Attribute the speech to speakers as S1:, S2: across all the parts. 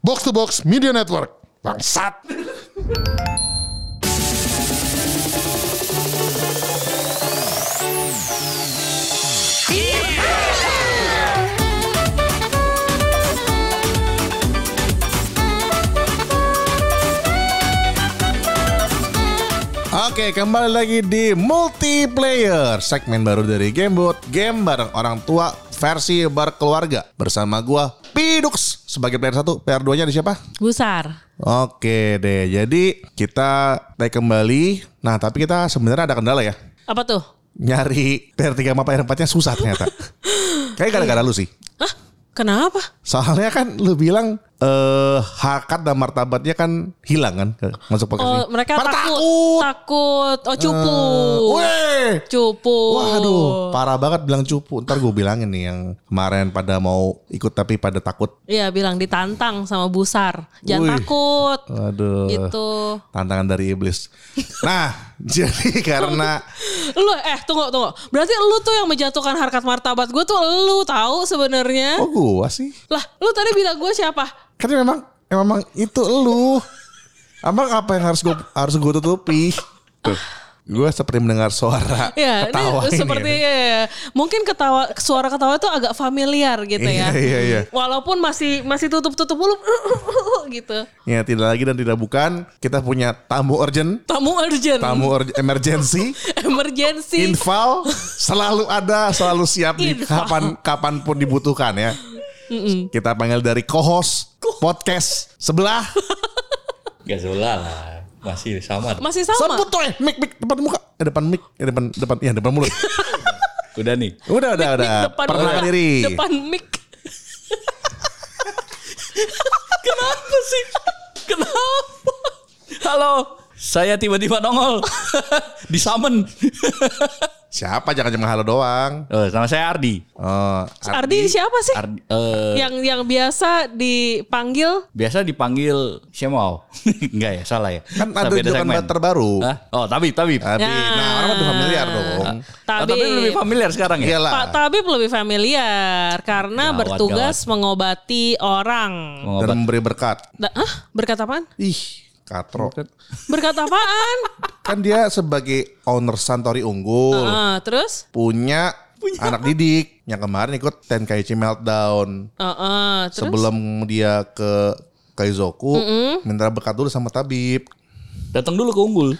S1: Box to Box Media Network. Bangsat.
S2: Eh, Oke, kembali lagi di multiplayer segmen baru dari Gamebot, game bareng orang tua versi berkeluarga bersama gua Pidux sebagai player satu, player 2-nya ada siapa?
S3: Gusar.
S2: Oke deh, jadi kita naik kembali. Nah, tapi kita sebenarnya ada kendala ya.
S3: Apa tuh?
S2: Nyari player 3 sama player 4-nya susah ternyata. Kayak gara-gara lu sih.
S3: Hah? Kenapa?
S2: Soalnya kan lu bilang eh harkat dan martabatnya kan hilang kan ke- masuk pakai
S3: Oh, mereka takut.
S2: takut. Eh,
S3: Takut. Oh, cupu.
S2: Weh.
S3: cupu.
S2: Waduh, parah banget bilang cupu. Ntar gue bilangin nih yang kemarin pada mau ikut tapi pada takut.
S3: Iya, bilang ditantang sama Busar.
S2: Wih.
S3: Jangan
S2: Eh.
S3: takut.
S2: Waduh.
S3: Gitu.
S2: Tantangan dari iblis. Nah, jadi karena
S3: Lu eh tunggu tunggu. Berarti lu tuh yang menjatuhkan harkat martabat gue tuh lu tahu sebenarnya.
S2: oh gua sih.
S3: Lah, lu tadi bilang gue siapa?
S2: Kan memang memang itu lu. Emang apa yang harus gue harus gue tutupi? Tuh. Gue seperti mendengar suara
S3: Ya,
S2: ketawa
S3: ini
S2: ini.
S3: seperti ya, ya. mungkin ketawa suara ketawa itu agak familiar gitu
S2: Iya,
S3: ya.
S2: iya, iya.
S3: Walaupun masih masih tutup-tutup mulut gitu.
S2: Ya tidak lagi dan tidak bukan kita punya tamu urgent,
S3: Tamu urgent.
S2: tamu urg- emergency.
S3: emergency.
S2: Infal selalu ada, selalu siap di
S3: Infal.
S2: kapan kapanpun dibutuhkan ya. Kita panggil dari co-host podcast sebelah.
S4: Gak sebelah lah. Masih sama.
S3: Masih sama.
S2: Sebut tuh, eh, mic mic depan muka, eh, depan mic, eh, depan depan ya depan mulut.
S4: Udah nih.
S2: Udah udah udah.
S3: depan
S2: Perkenalkan
S3: muka,
S2: diri.
S3: Depan mic. Kenapa sih? Kenapa? Halo.
S4: Saya tiba-tiba nongol. Disamen.
S2: Siapa jangan cuma halo doang.
S4: Eh, sama saya Ardi.
S2: Oh, Ar-
S3: Ardi siapa sih?
S4: Ardi eh,
S3: Yang yang biasa dipanggil
S4: biasa dipanggil Syemau. Enggak ya, salah ya.
S2: kan ada
S4: Tapi
S2: jokan
S4: segmen.
S2: terbaru.
S4: Hah? Oh, tapi tapi.
S2: Tapi
S3: Ya.
S2: nah orang lebih familiar dong. Iya
S3: Tabib.
S4: Ah, tapi lebih familiar sekarang ya.
S2: Iyalah.
S3: Iya. Pak Tabib lebih familiar karena
S4: Gawat,
S3: bertugas mengobati orang.
S2: Dan
S4: Mengobat.
S2: memberi berkat.
S3: Da- Hah? Berkat apaan?
S2: Ih, katro.
S3: Berkat apaan?
S2: Kan dia sebagai owner Santori Unggul.
S3: Ah, terus?
S2: punya, anak didik yang kemarin ikut Tenkaichi Meltdown
S3: Ah, ah, terus?
S2: sebelum dia ke Kaizoku minta berkat dulu sama tabib.
S4: Datang dulu ke Unggul.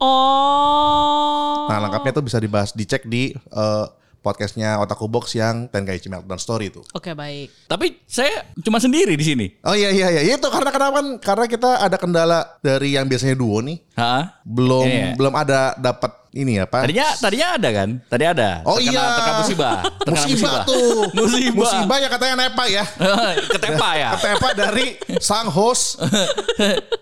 S3: Oh.
S2: Nah, lengkapnya tuh bisa dibahas dicek di eh, podcastnya Otaku Box yang Tenkaichi Meltdown Story itu.
S3: Oke, baik.
S4: Tapi saya cuma sendiri di sini.
S2: Oh iya iya iya itu karena kenapa kan karena kita ada kendala dari yang biasanya duo nih
S4: Heeh.
S2: belum
S4: Iya, iya.
S2: belum ada dapat ini apa
S4: Tadinya tadinya ada kan? Tadi ada.
S2: Oh
S4: Terkena-
S2: iya.
S4: Terkena musibah. Terkena
S2: musibah tuh
S4: musibah.
S2: musibah ya katanya nepa ya
S4: ketepa ya.
S2: Ketepa dari sang host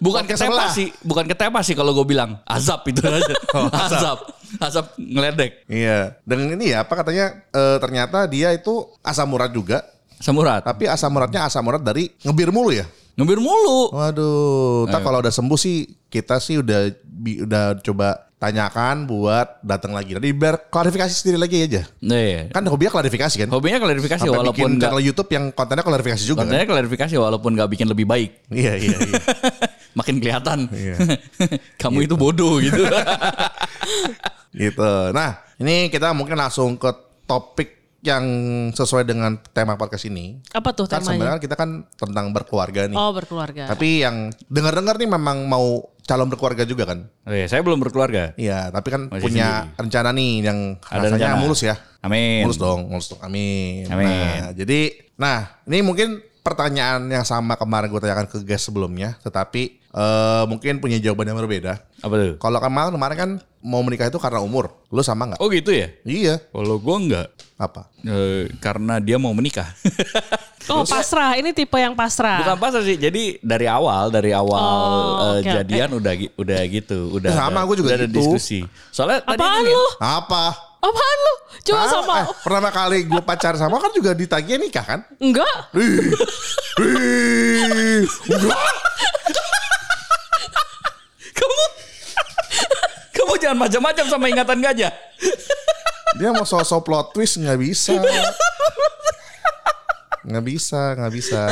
S4: Bukan
S2: Podcast
S4: ketepa
S2: sebelah.
S4: sih, bukan ketepa sih kalau gue bilang azab itu aja. Oh, azab. Azab ngeledek.
S2: Iya, dengan ini ya apa katanya eh, ternyata dia itu asam urat juga,
S4: Samurat.
S2: tapi asam uratnya asam urat dari ngebir mulu ya.
S4: Ngebir mulu.
S2: Waduh,
S4: Iya.
S2: tak kalau udah sembuh sih kita sih udah bi- udah coba tanyakan buat datang lagi. Jadi biar klarifikasi sendiri lagi aja.
S4: Nih.
S2: Kan hobinya klarifikasi kan.
S4: Hobinya klarifikasi
S2: Sampai bikin
S4: walaupun nggak
S2: channel YouTube yang kontennya klarifikasi juga kan.
S4: kontennya klarifikasi walaupun nggak bikin lebih baik.
S2: Iya, iya, iya.
S4: Makin kelihatan.
S2: Iya.
S4: Kamu itu bodoh gitu.
S2: gitu. Nah, ini kita mungkin langsung ke topik yang sesuai dengan tema podcast ini.
S3: Apa tuh
S2: Kan
S3: temanya?
S2: sebenarnya kita kan tentang berkeluarga nih.
S3: Oh, berkeluarga.
S2: Tapi yang dengar-dengar nih memang mau calon berkeluarga juga kan?
S4: Oh iya, saya belum berkeluarga.
S2: Iya, tapi kan
S4: Masih
S2: punya
S4: sendiri.
S2: rencana nih yang
S4: Ada
S2: rasanya
S4: rencana.
S2: mulus ya.
S4: Amin.
S2: Mulus dong, mulus dong. Amin.
S4: Amin.
S2: Nah, jadi nah, ini mungkin pertanyaan yang sama kemarin gue tanyakan ke guest sebelumnya, tetapi eh, mungkin punya jawaban yang berbeda.
S4: Apa tuh?
S2: Kalau kemarin kemarin kan mau menikah itu karena umur. Lu sama nggak?
S4: Oh gitu ya?
S2: Iya.
S4: Kalau gue nggak.
S2: Apa?
S4: Eh, karena dia mau menikah.
S3: oh, pasrah. Ini tipe yang pasrah.
S4: Bukan pasrah sih. Jadi dari awal, dari awal
S3: Oh,
S4: eh,
S3: oke,
S4: jadian udah gi- udah gitu, udah
S2: Sama,
S4: ada-
S2: gua juga
S4: udah ada
S2: gitu.
S4: diskusi. Soalnya tadi kan ya,
S3: Apaan
S4: ini-
S3: lu?
S2: Apa?
S3: Apaan lu? Coba
S2: Ah,
S3: sama.
S2: eh, pertama kali gue pacar sama kan juga ditagih nikah kan?
S3: Enggak.
S2: Ih, ih, enggak.
S4: Kamu Kamu jangan macam-macam sama ingatan gajah.
S2: Dia mau sosok plot twist nggak bisa. Nggak bisa, nggak bisa.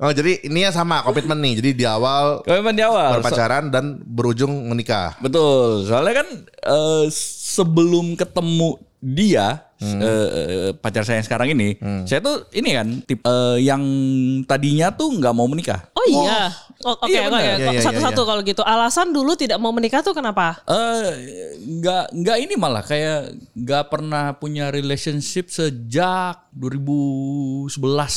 S2: Oh, jadi ininya sama komitmen nih. Jadi di awal
S4: Komitmen di awal. So-
S2: berpacaran dan berujung menikah.
S4: Betul. Soalnya kan eh, sebelum ketemu dia
S2: Hmm.
S4: eh, eh, pacar saya yang sekarang ini, saya tuh ini kan tipe eh, yang tadinya tuh nggak mau menikah.
S3: Oh iya. Oh, Oke, oke,
S4: Iya, benar.
S3: oke.
S2: Iya, iya,
S3: satu-satu kalau gitu. Alasan dulu tidak mau menikah tuh kenapa?
S4: Eh nggak nggak ini malah kayak nggak pernah punya relationship sejak 2011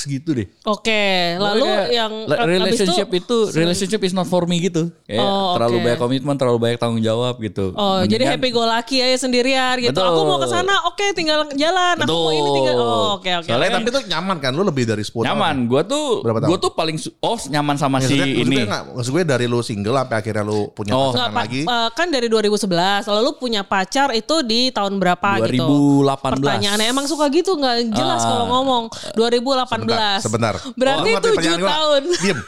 S4: gitu deh.
S3: Oke, lalu
S4: Pokoknya
S3: yang
S4: la-
S3: abis itu-
S4: relationship itu, relationship is not for me gitu. Kayak
S3: Oh,
S4: terlalu
S3: oke.
S4: banyak komitmen, terlalu banyak tanggung jawab gitu.
S3: Oh, jadi
S4: Mendingan-
S3: happy go lucky aja sendirian gitu.
S4: Betul.
S3: Aku mau ke sana, oke tinggal jalan. Aku mau ini tinggal.
S4: Betul.
S3: Oh, oke oke.
S4: Soalnya
S2: Eh, tapi itu nyaman kan? Lu lebih dari 10 tahun.
S4: nyaman. Gua tuh
S2: Berapa tahun?
S4: gua tuh paling su- oh nyaman sama si
S2: Maksudnya-
S4: ini.
S2: Maksudnya, nggak- maksud gue dari lu single sampai akhirnya lu punya
S4: Oh.
S2: pasangan
S3: Nggak, pa-
S2: lagi.
S3: eh, kan dari 2011 lalu punya pacar itu di tahun berapa gitu
S4: 2018.
S3: pertanyaannya emang suka gitu nggak jelas
S4: Ah.
S3: kalau ngomong 2018
S2: Sebentar, sebentar.
S3: berarti
S2: Lu ngerti
S3: tujuh
S2: pertanyaan gua nggak?
S3: tahun
S2: Diem.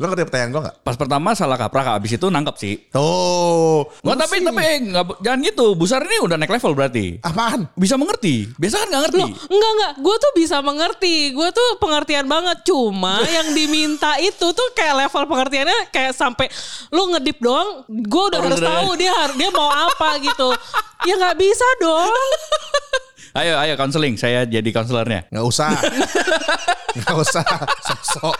S2: Lu ngerti pertanyaan gue gak?
S4: Pas pertama salah kaprah, Kak. abis itu nangkep sih.
S2: Oh.
S4: Nggak, tapi tapi eh, nggak, jangan gitu. Busar ini udah naik level berarti.
S2: Apaan?
S4: Bisa mengerti. Biasa kan nggak ngerti.
S3: Enggak enggak, gue tuh bisa mengerti, gue tuh pengertian banget. Cuma yang diminta itu tuh kayak level pengertiannya kayak sampai lu ngedip doang, gue udah
S2: Oh,
S4: Harus
S3: harus
S4: ada-
S3: tahu dia har- dia mau apa gitu. Ya nggak bisa dong.
S4: Ayo ayo konseling. Saya jadi konselernya.
S2: Nggak usah. Nggak usah. Sosok.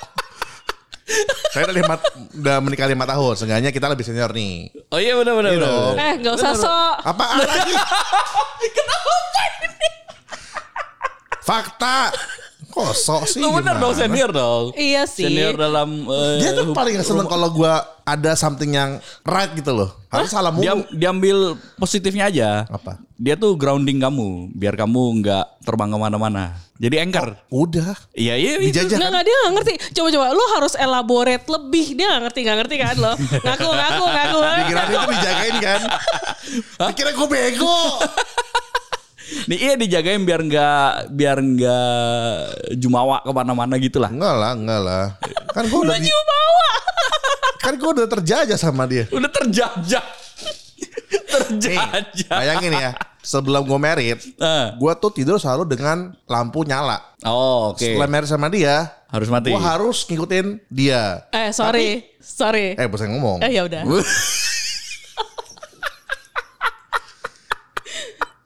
S2: Saya udah, lima, udah menikah lima tahun. Seenggaknya kita lebih senior nih.
S4: Oh iya benar benar.
S2: Iya
S4: benar.
S2: dong.
S3: Eh nggak usah sok.
S2: Apaan lagi? Fakta. Kok sok sih?
S4: Lu benar
S2: gimana?
S4: dong senior dong.
S3: Iya sih.
S4: Senior dalam eh,
S2: Dia tuh
S4: hub-
S2: paling gak seneng kalau gue ada something yang right gitu loh. Harus salah
S4: dia
S2: mulu.
S4: diambil positifnya aja.
S2: Apa?
S4: Dia tuh grounding kamu, biar kamu nggak terbang kemana-mana. Jadi anchor.
S2: Udah.
S4: Iya iya. itu.
S2: Dijajah
S3: Nggak,
S2: kan?
S3: nggak, dia nggak ngerti. Coba-coba, lu harus elaborate lebih. Dia nggak ngerti, nggak ngerti kan lo. Ngaku, ngaku, ngaku.
S2: Pikiran itu dijagain kan. Pikiran gue bego.
S4: Nih, iya dijagain biar nggak biar nggak jumawa kemana-mana gitu lah.
S2: Enggak lah, enggak lah. Kan gue udah, di- kan gue udah terjajah sama dia.
S4: Udah terjajah, terjajah.
S2: Bayangin ya, sebelum gue merit,
S4: Eh.
S2: gue tuh tidur selalu dengan lampu nyala.
S4: Oh, oke.
S2: Setelah merit sama dia,
S4: Harus mati.
S2: gue harus ngikutin dia.
S3: Eh, sorry. sorry.
S2: Eh, bosan ngomong.
S3: Eh, ya udah.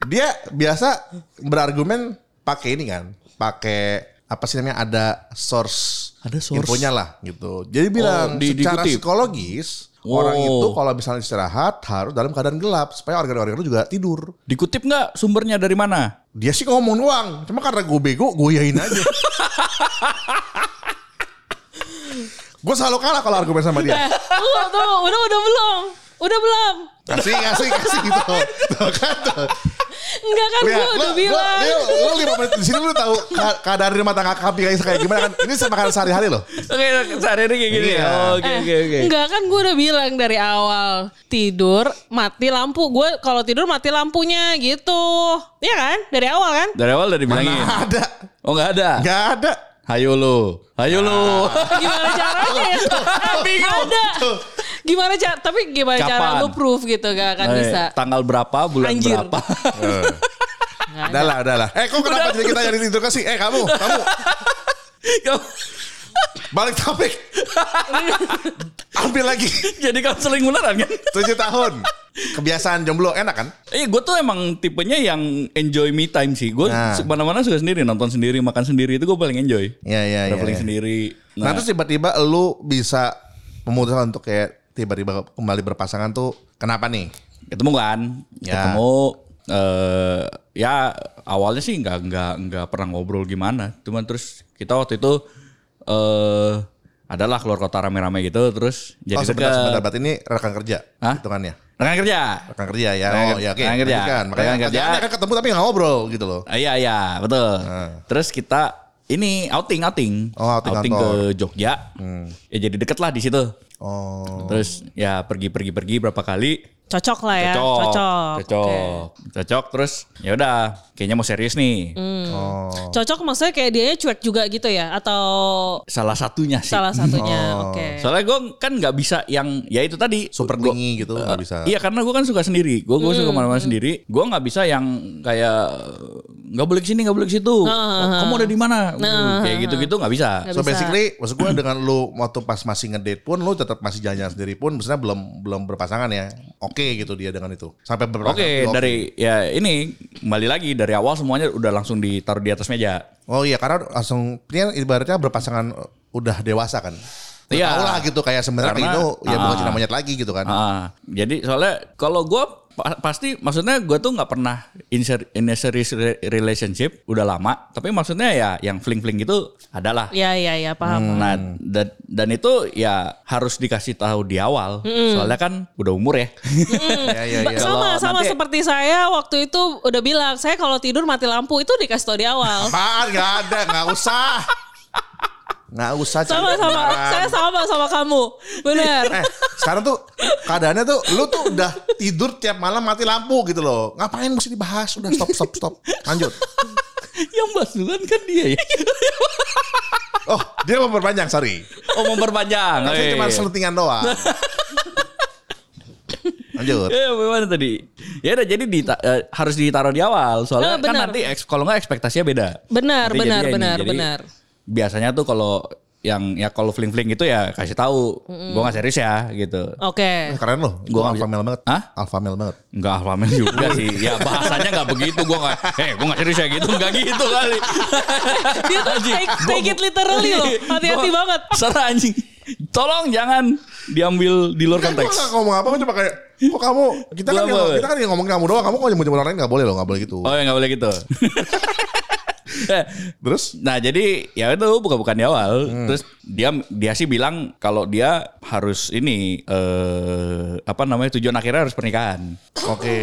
S2: Dia biasa berargumen pakai ini kan, pakai apa sih namanya ada source
S4: Ada source. Oh,
S2: infonya lah gitu. Jadi bilang
S4: di-
S2: secara
S4: dikutip.
S2: psikologis
S4: Oh.
S2: orang itu kalau misalnya istirahat harus dalam keadaan gelap supaya organ-organ itu juga tidur.
S4: Dikutip nggak sumbernya dari mana?
S2: Dia sih ngomong doang, cuma karena gue bego gue yain aja. gue selalu kalah kalau argumen sama
S3: Eh,
S2: dia.
S3: tunggu, tunggu. Udah, udah belum. Udah belum.
S2: Kasih, kasih, kasih gitu. Tuh kan tuh.
S3: Enggak kan gue udah
S2: lu-
S3: bilang.
S2: Lu, lu, lu lima menit di sini lu tahu ka- keadaan rumah tangga kami kayak kayak gimana kan? Ini sama kan sehari-hari loh.
S4: Oke, sehari ini kayak gini.
S2: Iya.
S4: Oh, Oke,
S3: Eh,
S4: oke, oke.
S3: Enggak kan gue udah bilang dari awal tidur mati lampu. Gue kalau tidur mati lampunya gitu. Iya kan? Dari awal kan?
S4: Dari awal udah dibilangin.
S2: Nggak ada,
S4: Oh, nggak ada.
S2: nggak ada.
S4: Hayo lo, hayo lo.
S3: Gimana caranya ya? Eh, Ada. Gimana cara? Tapi gimana cara
S4: Kapan?
S3: lu proof gitu gak akan
S4: Eh,
S3: bisa?
S4: Tanggal berapa, bulan
S3: Anjir.
S4: berapa?
S3: Nggak ada.
S2: Udah lah, udah lah. Eh kok kenapa jadi kita jadi tidur kasih? Eh kamu, kamu balik topik. Ambil lagi
S4: Jadi konseling beneran kan?
S2: tujuh tahun. Kebiasaan jomblo enak kan?
S4: Eh, gue tuh emang tipenya yang enjoy me time sih. Gue
S2: Nah.
S4: mana-mana suka sendiri, nonton sendiri, makan sendiri itu gue paling enjoy.
S2: Iya, iya,
S4: Traveling sendiri.
S2: Nah,
S4: Nah,
S2: terus tiba-tiba lu bisa memutuskan untuk kayak tiba-tiba kembali berpasangan tuh kenapa nih?
S4: ketemu kan?
S2: Ya.
S4: Ketemu. eh ya awalnya sih nggak nggak nggak pernah ngobrol gimana. Cuman terus kita waktu itu eh adalah keluar kota rame-rame gitu. Terus jadi
S2: oh sebentar,
S4: dekat.
S2: sebentar. Berarti ini rekan kerja
S4: Hah?
S2: hitungannya.
S4: Rekan kerja.
S2: rekan kerja ya.
S4: Rekan-
S2: oh ya oke.
S4: rekan kerja.
S2: Lanjutkan. Makanya
S4: Rekan kerja.
S2: kerjaannya kan ketemu tapi nggak ngobrol gitu loh.
S4: Ah, Iya iya betul. Terus kita ini outing outing,
S2: Nah. Oh, outing
S4: ke
S2: kantor. Hmm.
S4: Jogja. Ya jadi deket lah di situ.
S2: Oh.
S4: Terus ya pergi pergi pergi berapa kali?
S3: Cocok lah ya.
S4: Cocok,
S3: Cocok.
S4: cocok,
S3: Oke.
S4: cocok. Terus ya udah, kayaknya mau serius nih.
S3: Hmm.
S2: Oh.
S3: Cocok maksudnya kayak dianya cuek juga gitu ya atau
S4: Salah satunya sih.
S3: salah satunya.
S4: Oh.
S3: Oke.
S4: Soalnya gue kan nggak bisa yang ya itu tadi
S2: Super
S4: Gua-
S2: dingin gitu nggak bisa.
S3: Hmm.
S4: Iya karena gue kan suka sendiri, gue gue suka mana-mana sendiri, gue nggak bisa yang kayak nggak boleh kesini nggak boleh ke situ
S3: Nah.
S4: kamu udah di mana Uh,
S3: ah,
S4: kayak gitu gitu nggak bisa
S3: Nggak
S2: So
S3: bisa.
S2: basically maksud gue dengan lu waktu pas masih ngedate pun lu tetap masih jalan-jalan sendiri pun maksudnya belum belum berpasangan ya. Oke gitu dia dengan itu. Sampai berpasangan.
S4: Oke, dari ya ini kembali lagi dari awal semuanya udah langsung ditaruh di atas meja.
S2: Oh iya karena langsung dia ibaratnya berpasangan uh, udah dewasa kan. Iya.
S4: Iya.
S2: Tahu lah gitu kayak sebenarnya
S4: Karena-
S2: itu ya bukan
S4: Ah.
S2: cinta monyet lagi gitu kan.
S4: Ah, jadi soalnya kalau gue pasti maksudnya gue tuh nggak pernah in, ser- in a serious re- relationship udah lama, tapi maksudnya ya yang fling-fling gitu adalah.
S3: Iya iya iya paham.
S4: Nah dan, dan itu ya harus dikasih tahu di awal, soalnya kan udah umur ya.
S2: Iya iya
S3: Ba-
S2: iya.
S3: sama
S4: Kalau
S3: sama
S4: nanti-
S3: seperti saya waktu itu udah bilang saya kalau tidur mati lampu itu dikasih tau di awal.
S2: Apaan gak ada gak usah. Gak usah cari
S3: sama sama
S2: kebenaran.
S3: saya sama sama kamu. Bener.
S2: Eh sekarang tuh keadaannya tuh lu tuh udah tidur tiap malam mati lampu gitu loh. Ngapain mesti dibahas? Udah stop stop stop. Lanjut.
S4: yang bahas duluan kan dia ya.
S2: Oh dia mau berpanjang sorry. Kan
S4: oh iya, memperpanjang.
S2: Saya
S4: Oke.
S2: cuma selentingan doang. Lanjut.
S3: Iya,
S4: Ya, gimana tadi? Ya udah jadi dita- eh, harus ditaruh di awal
S3: Eh,
S4: soalnya kan
S3: benar.
S4: nanti eks- kalau nggak ekspektasinya beda.
S3: Benar,
S4: Nanti
S3: benar,
S4: jadinya ini.
S3: benar,
S4: Jadi,
S3: benar.
S4: Biasanya tuh kalau yang ya kalau fling-fling gitu ya kasih tahu, gua nggak serius ya gitu.
S3: Oke.
S2: Keren loh. Gue alpha male banget.
S4: Hah?
S2: Alpha male banget.
S4: Enggak alfamil juga sih. Ya bahasanya nggak begitu. Gua nggak, eh gua nggak serius ya gitu. Nggak gitu kali.
S3: Dia tuh take, take it literally loh. Hati-hati
S4: Gua-
S3: banget.
S4: Sarah anjing. Tolong jangan diambil di luar
S2: Kan gue gak
S4: konteks.
S2: ngomong apa, gua cuma kayak kok kamu kita kan
S4: Gua
S2: yang-
S4: apa?
S2: kita kan yang ngomongin kamu doang, kamu kok nyebut orang lain gak boleh loh, gak boleh gitu.
S4: Oh ya nggak boleh gitu. Eh,
S2: Terus
S4: Nah jadi ya itu buka-bukaan di awal. Terus dia dia sih bilang kalau dia harus ini eh apa namanya tujuan akhirnya harus pernikahan.
S2: oke.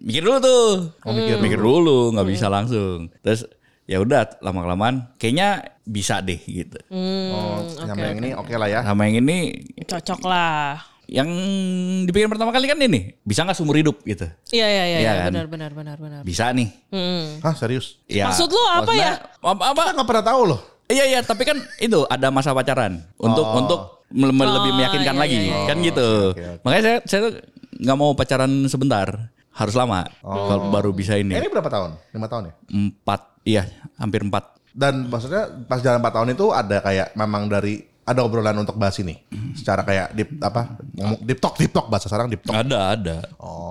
S4: Mikir dulu tuh. Oh, Hmm. mikir. dulu nggak bisa langsung. Terus ya udah lama kelamaan kayaknya bisa deh gitu.
S2: Oh, sama yang ini oke lah ya.
S4: Sama yang ini
S3: Hmm, Cocok lah.
S4: yang dibikin pertama kali kan ini bisa nggak seumur hidup gitu.
S3: Iya iya iya
S4: Iya
S3: iya,
S4: kan?
S3: benar benar benar benar.
S4: Bisa nih.
S3: Hmm.
S2: Hah, serius?
S4: Ya,
S3: Maksud lu apa
S4: maksudnya-
S3: ya?
S4: Apa, apa-
S2: Kita gak pernah tahu loh.
S4: Iya iya, tapi kan itu ada masa pacaran untuk untuk mel- mel- lebih meyakinkan lagi kan gitu. Makanya saya saya tuh nggak mau pacaran sebentar, harus lama kalau baru
S2: Eh,
S4: bisa ini
S2: ini berapa tahun? Lima tahun ya?
S4: empat, iya hampir empat.
S2: Dan maksudnya pas jalan 4 tahun itu ada kayak memang dari ada obrolan untuk bahas ini. Secara kayak deep apa? Ngomong deep talk, deep talk bahasa sekarang deep talk.
S4: Ada ada,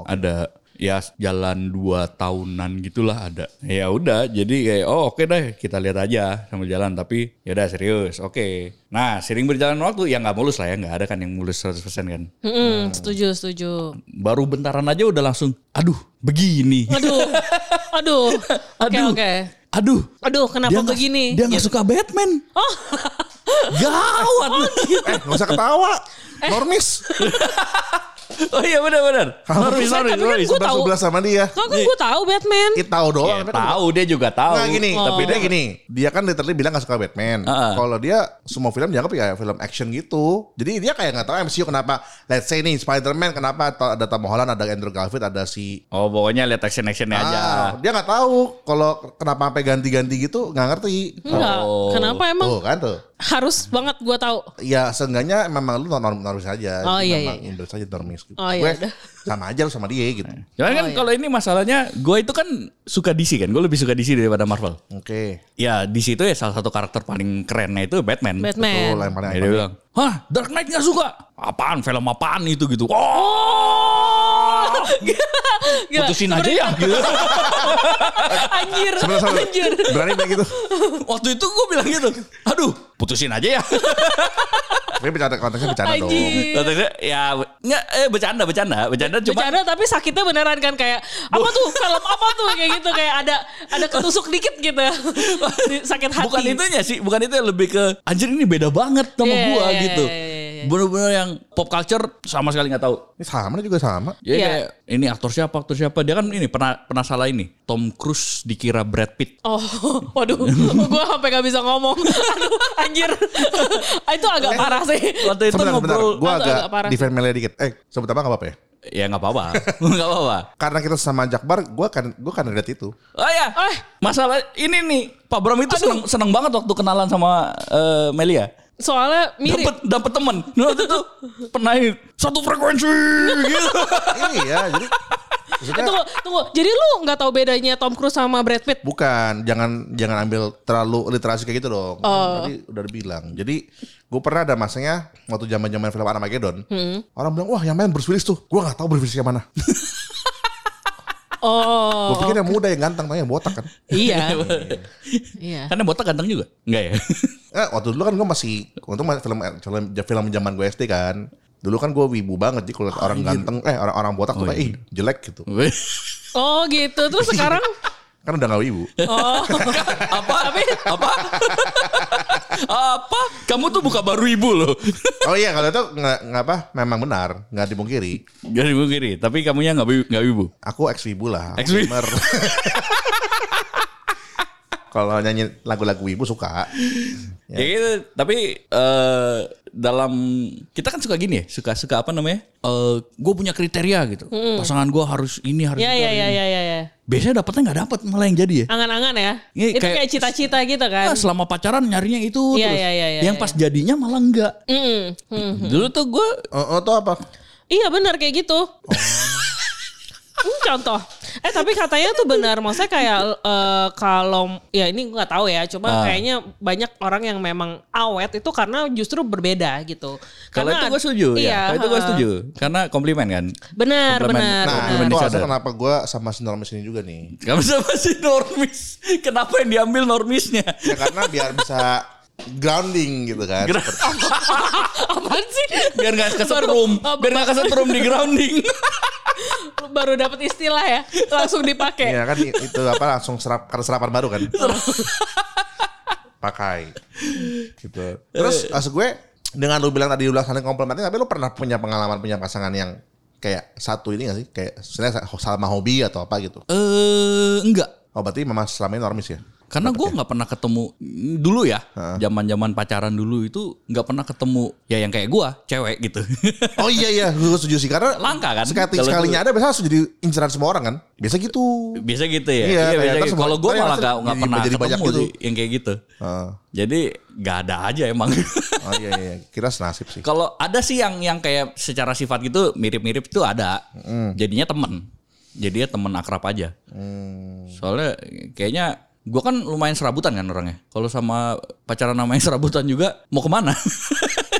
S4: ada ya jalan dua tahunan gitulah ada. Ya udah, jadi kayak oh oke deh kita lihat aja sama jalan, tapi ya udah serius, oke. Nah sering berjalan waktu ya nggak mulus lah ya, nggak ada kan yang mulus 100% kan.
S3: Hmm, setuju setuju.
S4: Baru bentaran aja udah langsung, aduh begini.
S3: Aduh. Aduh. Oke
S4: Aduh.
S3: oke.
S4: Aduh.
S3: Aduh, kenapa Ya,
S4: nggak-
S3: begini?
S4: Dia nggak suka Batman.
S3: Oh.
S4: Gawat.
S2: Eh, gak usah ketawa. Normis.
S4: oh iya benar-benar. Sorry, sorry,
S3: tapi kan
S4: sorry.
S3: gua tahu.
S2: Sebelah-sebelah sama dia.
S3: Kok kan gue tahu Batman.
S2: Kita tahu doang.
S4: Ya,
S2: tapi kan
S4: tahu dia juga tahu.
S2: Nah gini,
S3: Oh.
S4: Tapi
S2: tapi dia gini, dia kan literally bilang gak suka Batman.
S4: Heeh.
S2: Kalau dia semua film dianggap kayak film action gitu. Jadi dia kayak nggak tahu MCU kenapa. Let's say nih Spider-Man kenapa ta- ada Tom Holland, ada Andrew Garfield, ada si
S4: Oh pokoknya lihat action actionnya aja.
S2: Ah, dia nggak tahu kalau kenapa sampai ganti-ganti gitu nggak ngerti.
S3: Enggak.
S4: Oh.
S3: Kenapa emang
S2: Tuh kan tuh.
S3: harus banget gue tahu?
S2: Ya seenggaknya memang lu norm normis aja.
S3: Oh, iya,
S2: Memang
S3: iya.
S2: Indonesia aja normis gitu.
S3: Oh, iya,
S2: Gue
S3: udah.
S2: sama aja lu sama dia gitu.
S4: Cuman
S3: Oh,
S4: kan
S3: iya.
S4: kalau ini masalahnya, gue itu kan suka DC kan, gue lebih suka DC daripada Marvel.
S2: Oke.
S4: Ya DC itu ya salah satu karakter paling kerennya itu Batman.
S2: Tuh
S3: Batman.
S2: lah yang paling
S4: Ya, dia bilang, hah Dark Knight gak suka? Apaan film apaan itu gitu? Oh,
S3: Gila,
S4: putusin aja ya. Gitu.
S3: Anjir.
S2: Sebelah sana.
S3: Anjir.
S2: Berani kayak gitu.
S4: Waktu itu gue bilang gitu, aduh putusin aja ya.
S2: Tapi bercanda konteksnya bercanda dong.
S3: Anjir.
S4: Kata dia, ya nggak, eh, bercanda, bercanda, bercanda cuma
S3: Bercanda tapi sakitnya beneran kan kayak apa tuh film apa tuh kayak gitu kayak ada ada ketusuk dikit gitu Di- sakit hati.
S4: bukan itunya sih, bukan itu yang lebih ke anjir ini beda banget sama
S3: Iya,
S4: gua
S3: iya,
S4: gitu.
S3: iya, iya, iya.
S4: Bener-bener yang pop culture sama sekali nggak tahu.
S2: Ini sama juga sama.
S4: Jadi
S3: Iya.
S4: kayak ini aktor siapa, aktor siapa. Dia kan ini pernah pernah salah ini. Tom Cruise dikira Brad Pitt.
S3: Oh, waduh, gue sampai gak bisa ngomong. Aduh, anjir, itu agak parah sih.
S4: Waktu itu
S2: sebentar, sebentar.
S4: ngobrol,
S2: Gue
S3: Agak-
S2: agak,
S3: agak parah.
S2: di family dikit. Eh, sebut apa gak apa-apa ya?
S4: ya nggak apa-apa, nggak apa-apa.
S2: Karena kita sama Jakbar, gue kan gue kan lihat itu.
S4: Oh ya,
S3: Eh.
S4: masalah ini nih Pak Bram itu seneng, seneng banget waktu kenalan sama eh, Melia.
S3: Soalnya mirip.
S4: Dapat dapat teman. Nah, Waktu itu pernah ini, satu frekuensi gitu.
S2: iya, jadi
S3: Eh, tunggu, tunggu. Jadi lu nggak tahu bedanya Tom Cruise sama Brad Pitt?
S2: Bukan, jangan jangan ambil terlalu literasi kayak gitu dong.
S4: Oh.
S2: Tadi udah dibilang. Jadi gue pernah ada masanya waktu zaman zaman film Armageddon,
S3: Hmm.
S2: orang bilang wah yang main Bruce Willis tuh, gue nggak tahu Bruce Willis yang mana.
S3: Oh,
S4: Oh,
S2: Gue pikir yang muda yang ganteng, tanya yang botak kan.
S3: iya. iya.
S4: Karena Kan botak ganteng juga. Enggak ya?
S2: Eh, waktu dulu kan gue masih untung masih film film film zaman gue SD kan. Dulu kan gue wibu banget, jadi kalau
S4: Oh,
S2: liat
S4: iya.
S2: orang ganteng, eh orang-orang botak tuh kayak ih jelek gitu.
S3: Oh gitu. Terus sekarang
S2: Kan udah gak wibu.
S3: oh
S4: apa? Apa? apa? Kamu tuh buka baru ibu loh.
S2: Oh iya kalau itu nggak nggak apa, memang benar, nggak dipungkiri.
S4: Gak ibu kiri. Tapi kamunya nggak wibu. Nggak wibu.
S2: Aku ex wibu lah. aku
S4: Ex wibu.
S2: gamer. kalau nyanyi lagu-lagu wibu suka.
S4: Ya. gitu. Tapi eh dalam kita kan suka gini ya, suka suka apa namanya? Eh gue punya kriteria gitu. Pasangan gue harus ini harus
S3: ya
S4: itu,
S3: ya
S4: harus
S3: ya
S4: ini.
S3: ya ya. ya.
S4: Biasanya dapetnya nggak dapet malah yang jadi ya.
S3: Angan-angan ya.
S4: Iya,
S3: Itu
S4: kayak-
S3: kayak cita-cita gitu kan.
S4: Ah, selama pacaran nyarinya itu
S3: Iya,
S4: terus.
S3: iya, iya, iya,
S4: yang pas jadinya malah enggak.
S3: Mm-mm. Mm.
S4: Dulu tuh gue
S2: Oh, oh tuh apa?
S3: Iya benar kayak
S4: Oh.
S3: gitu. Hmm, Contoh. Eh tapi katanya tuh benar. Maksudnya kayak eh, kalau ya ini gue nggak tahu ya. Cuma
S4: Ah.
S3: kayaknya banyak orang yang memang awet itu karena justru berbeda gitu. iya,
S4: kalau itu gue setuju ya. Kalau itu gue setuju karena komplimen kan.
S3: Benar
S4: Komplement.
S3: benar.
S2: Nah,
S4: benar.
S2: itu
S4: Benar.
S2: alasan kenapa gue sama si Normis ini juga nih.
S4: Kamu sama si normis. Kenapa yang diambil normisnya?
S2: Ya karena biar bisa grounding gitu kan.
S3: Apaan sih?
S4: Biar nggak kesetrum,
S3: Baru-
S4: biar nggak kesetrum di grounding.
S3: Lu Baru dapat istilah ya. Langsung dipakai.
S2: Iya kan i- itu apa langsung serap karena serapan baru kan. Pakai. Gitu. Terus maksud gue dengan lu bilang tadi ulah saling komplimentin tapi lu pernah punya pengalaman punya pasangan yang kayak satu ini gak sih? Kayak sebenarnya sama hobi atau apa gitu.
S4: Eh enggak.
S2: Oh berarti memang selama ini normis ya?
S4: Karena gue nggak pernah ketemu dulu ya, zaman zaman pacaran dulu itu nggak pernah ketemu ya yang kayak gue, cewek gitu.
S2: Oh iya iya, gue setuju sih karena
S4: Langka kan?
S2: sekali
S4: Kalau
S2: sekalinya ada biasa langsung jadi inceran semua orang kan? Biasa gitu.
S4: biasa gitu ya.
S2: Iya, kayak
S4: biasa
S2: terus
S4: gitu. Kalau gue
S2: ternyata
S4: malah nggak nggak
S2: jadi-
S4: pernah
S2: jadi banyak
S4: ketemu
S2: gitu.
S4: sih yang kayak gitu.
S2: Heeh.
S4: Jadi nggak ada aja emang.
S2: Ah. oh iya iya, kira senasib sih.
S4: Kalau ada sih yang yang kayak secara sifat gitu mirip-mirip itu ada. Jadinya temen. Jadinya temen akrab aja. Soalnya kayaknya gue kan lumayan serabutan kan orangnya. Kalau sama pacaran namanya serabutan juga mau kemana?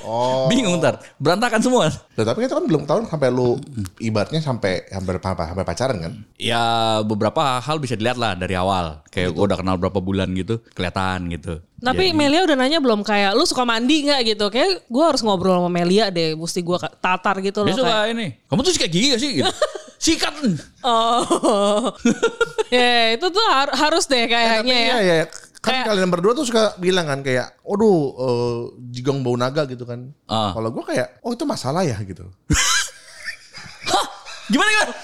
S2: Oh.
S4: Bingung ntar. Berantakan semua.
S2: Loh, tapi kita kan belum tahu sampai lu ibaratnya sampai hampir apa sampai pacaran kan?
S4: Ya beberapa hal bisa dilihat lah dari awal. Kayak gua udah kenal berapa bulan gitu. Kelihatan gitu.
S3: Tapi Melia udah nanya belum kayak lu suka mandi nggak gitu? Kayak gue harus ngobrol sama Melia deh. Mesti gue tatar gitu loh.
S4: Dia
S3: kayak.
S4: suka ini. Kamu tuh sikat gigi gak sih? Gitu. Sikat.
S3: Oh, ya itu tuh har- harus deh
S4: Eh,
S2: Tapi
S3: kayaknya ya.
S2: iya, iya. Kan
S3: Kayak-
S2: kalian berdua tuh suka bilang kan kayak, "Aduh, eh, jigong bau naga" gitu kan.
S4: Ah.
S2: Kalau gue kayak, "Oh, itu masalah ya?" gitu.
S4: Gimana gimana?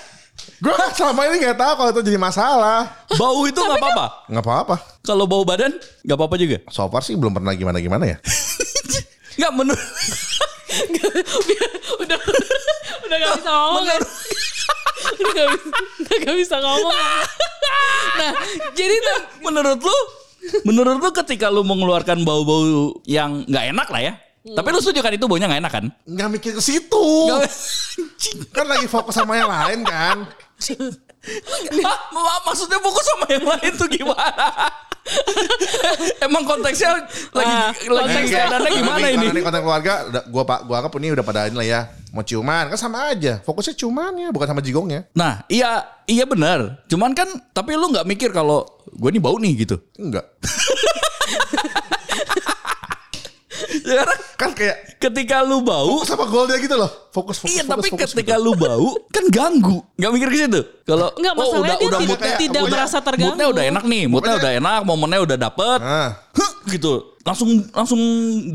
S2: gue selama ini nggak tahu kalau itu jadi masalah.
S4: Bau itu
S3: kan
S4: nggak apa-apa.
S2: Nggak apa-apa.
S4: Kalau bau badan nggak apa-apa juga.
S2: So far sih belum pernah gimana-gimana ya.
S4: Nggak menurut
S3: udah udah gak bisa ngomong kan? udah gak bisa, udah gak bisa ngomong. Nah, jadi tuh
S4: menurut lu menurut lu ketika lu mengeluarkan bau-bau yang nggak enak lah ya. Tapi lu setuju kan itu baunya nggak enak kan?
S2: Nggak mikir ke situ.
S4: Nggak-
S2: Kan lagi fokus sama yang lain kan.
S4: Hah? Ma- maksudnya fokus sama yang lain tuh gimana? Emang konteksnya lagi
S3: Ah,
S2: Iya,
S4: lagi
S3: konteksnya.
S4: keadaannya gimana
S2: Nanti-
S4: ini?
S2: Nanti konten keluarga, udah- gua pak, gua anggap ini udah pada ini lah ya. Mau ciuman, kan sama aja. Fokusnya ciumannya, bukan sama jigongnya.
S4: Nah, iya iya benar. Cuman kan tapi lu nggak mikir kalau gue nih bau nih gitu.
S2: Enggak.
S4: Sekarang
S2: Kan kayak
S4: ketika lu bau
S2: fokus sama goalnya gitu loh. Fokus, fokus,
S4: Iya,
S2: fokus,
S4: tapi
S2: fokus, gitu.
S4: ketika lu bau kan ganggu. Gak mikir ke situ. Kalau "Oh,
S3: nggak masalahnya dia tidak,
S4: moodnya-
S2: kayak-
S3: tidak
S2: Oh, moodnya-
S3: merasa terganggu.
S4: moodnya udah enak nih, moodnya
S2: Pokoknya-
S4: udah enak, momennya udah dapet.
S2: Ah.
S4: Huh, gitu. Langsung langsung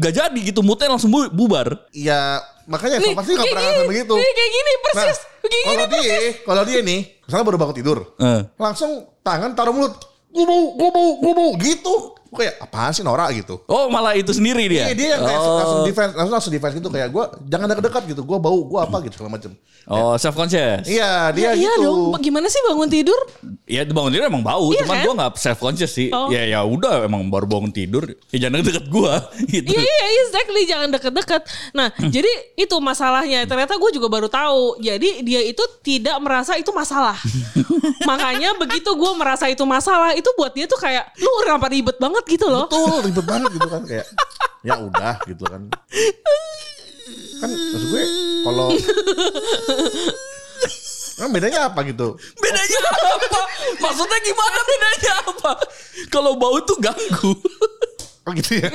S4: gak jadi gitu, moodnya langsung bu- bubar.
S2: Iya, makanya
S3: Nih,
S2: sama pasti nggak
S3: kayak
S2: pernah
S3: gini,
S2: ngalamin begitu. Nah, Oh,
S3: nih, kayak gini persis. Kayak gini
S2: kalau dia, kalau dia nih, misalnya baru bangun tidur,
S4: Eh.
S2: langsung tangan taruh mulut, gue bau, gue bau, gue bau, gitu. Gue kayak apaan sih Nora gitu.
S4: Oh malah itu sendiri dia.
S2: Iya dia yang kayak
S4: oh.
S2: langsung defense, langsung langsung defense gitu kayak gue jangan dekat-dekat gitu, gue bau, gue apa gitu segala macam.
S4: Oh self conscious.
S2: Iya dia
S3: Ya, iya
S2: gitu.
S3: dong, gimana sih bangun tidur?
S4: Ya bangun tidur emang bau,
S3: Iya
S4: cuman
S3: kan?
S4: gua nggak self conscious sih.
S3: Oh.
S4: Ya ya udah emang baru bangun tidur, ya jangan deket gua gitu.
S3: Iya iya exactly jangan deket-deket. Nah jadi itu masalahnya. Ternyata gue juga baru tahu. Jadi dia itu tidak merasa itu masalah. Makanya begitu gue merasa itu masalah, itu buat dia tuh kayak lu kenapa ribet banget gitu loh.
S2: Betul ribet banget gitu kan kayak ya udah gitu kan. Kan maksud gue kalau Kan bedanya apa gitu?
S4: Bedanya apa? Maksudnya gimana bedanya apa? Kalau bau tuh ganggu.
S2: Oh gitu ya.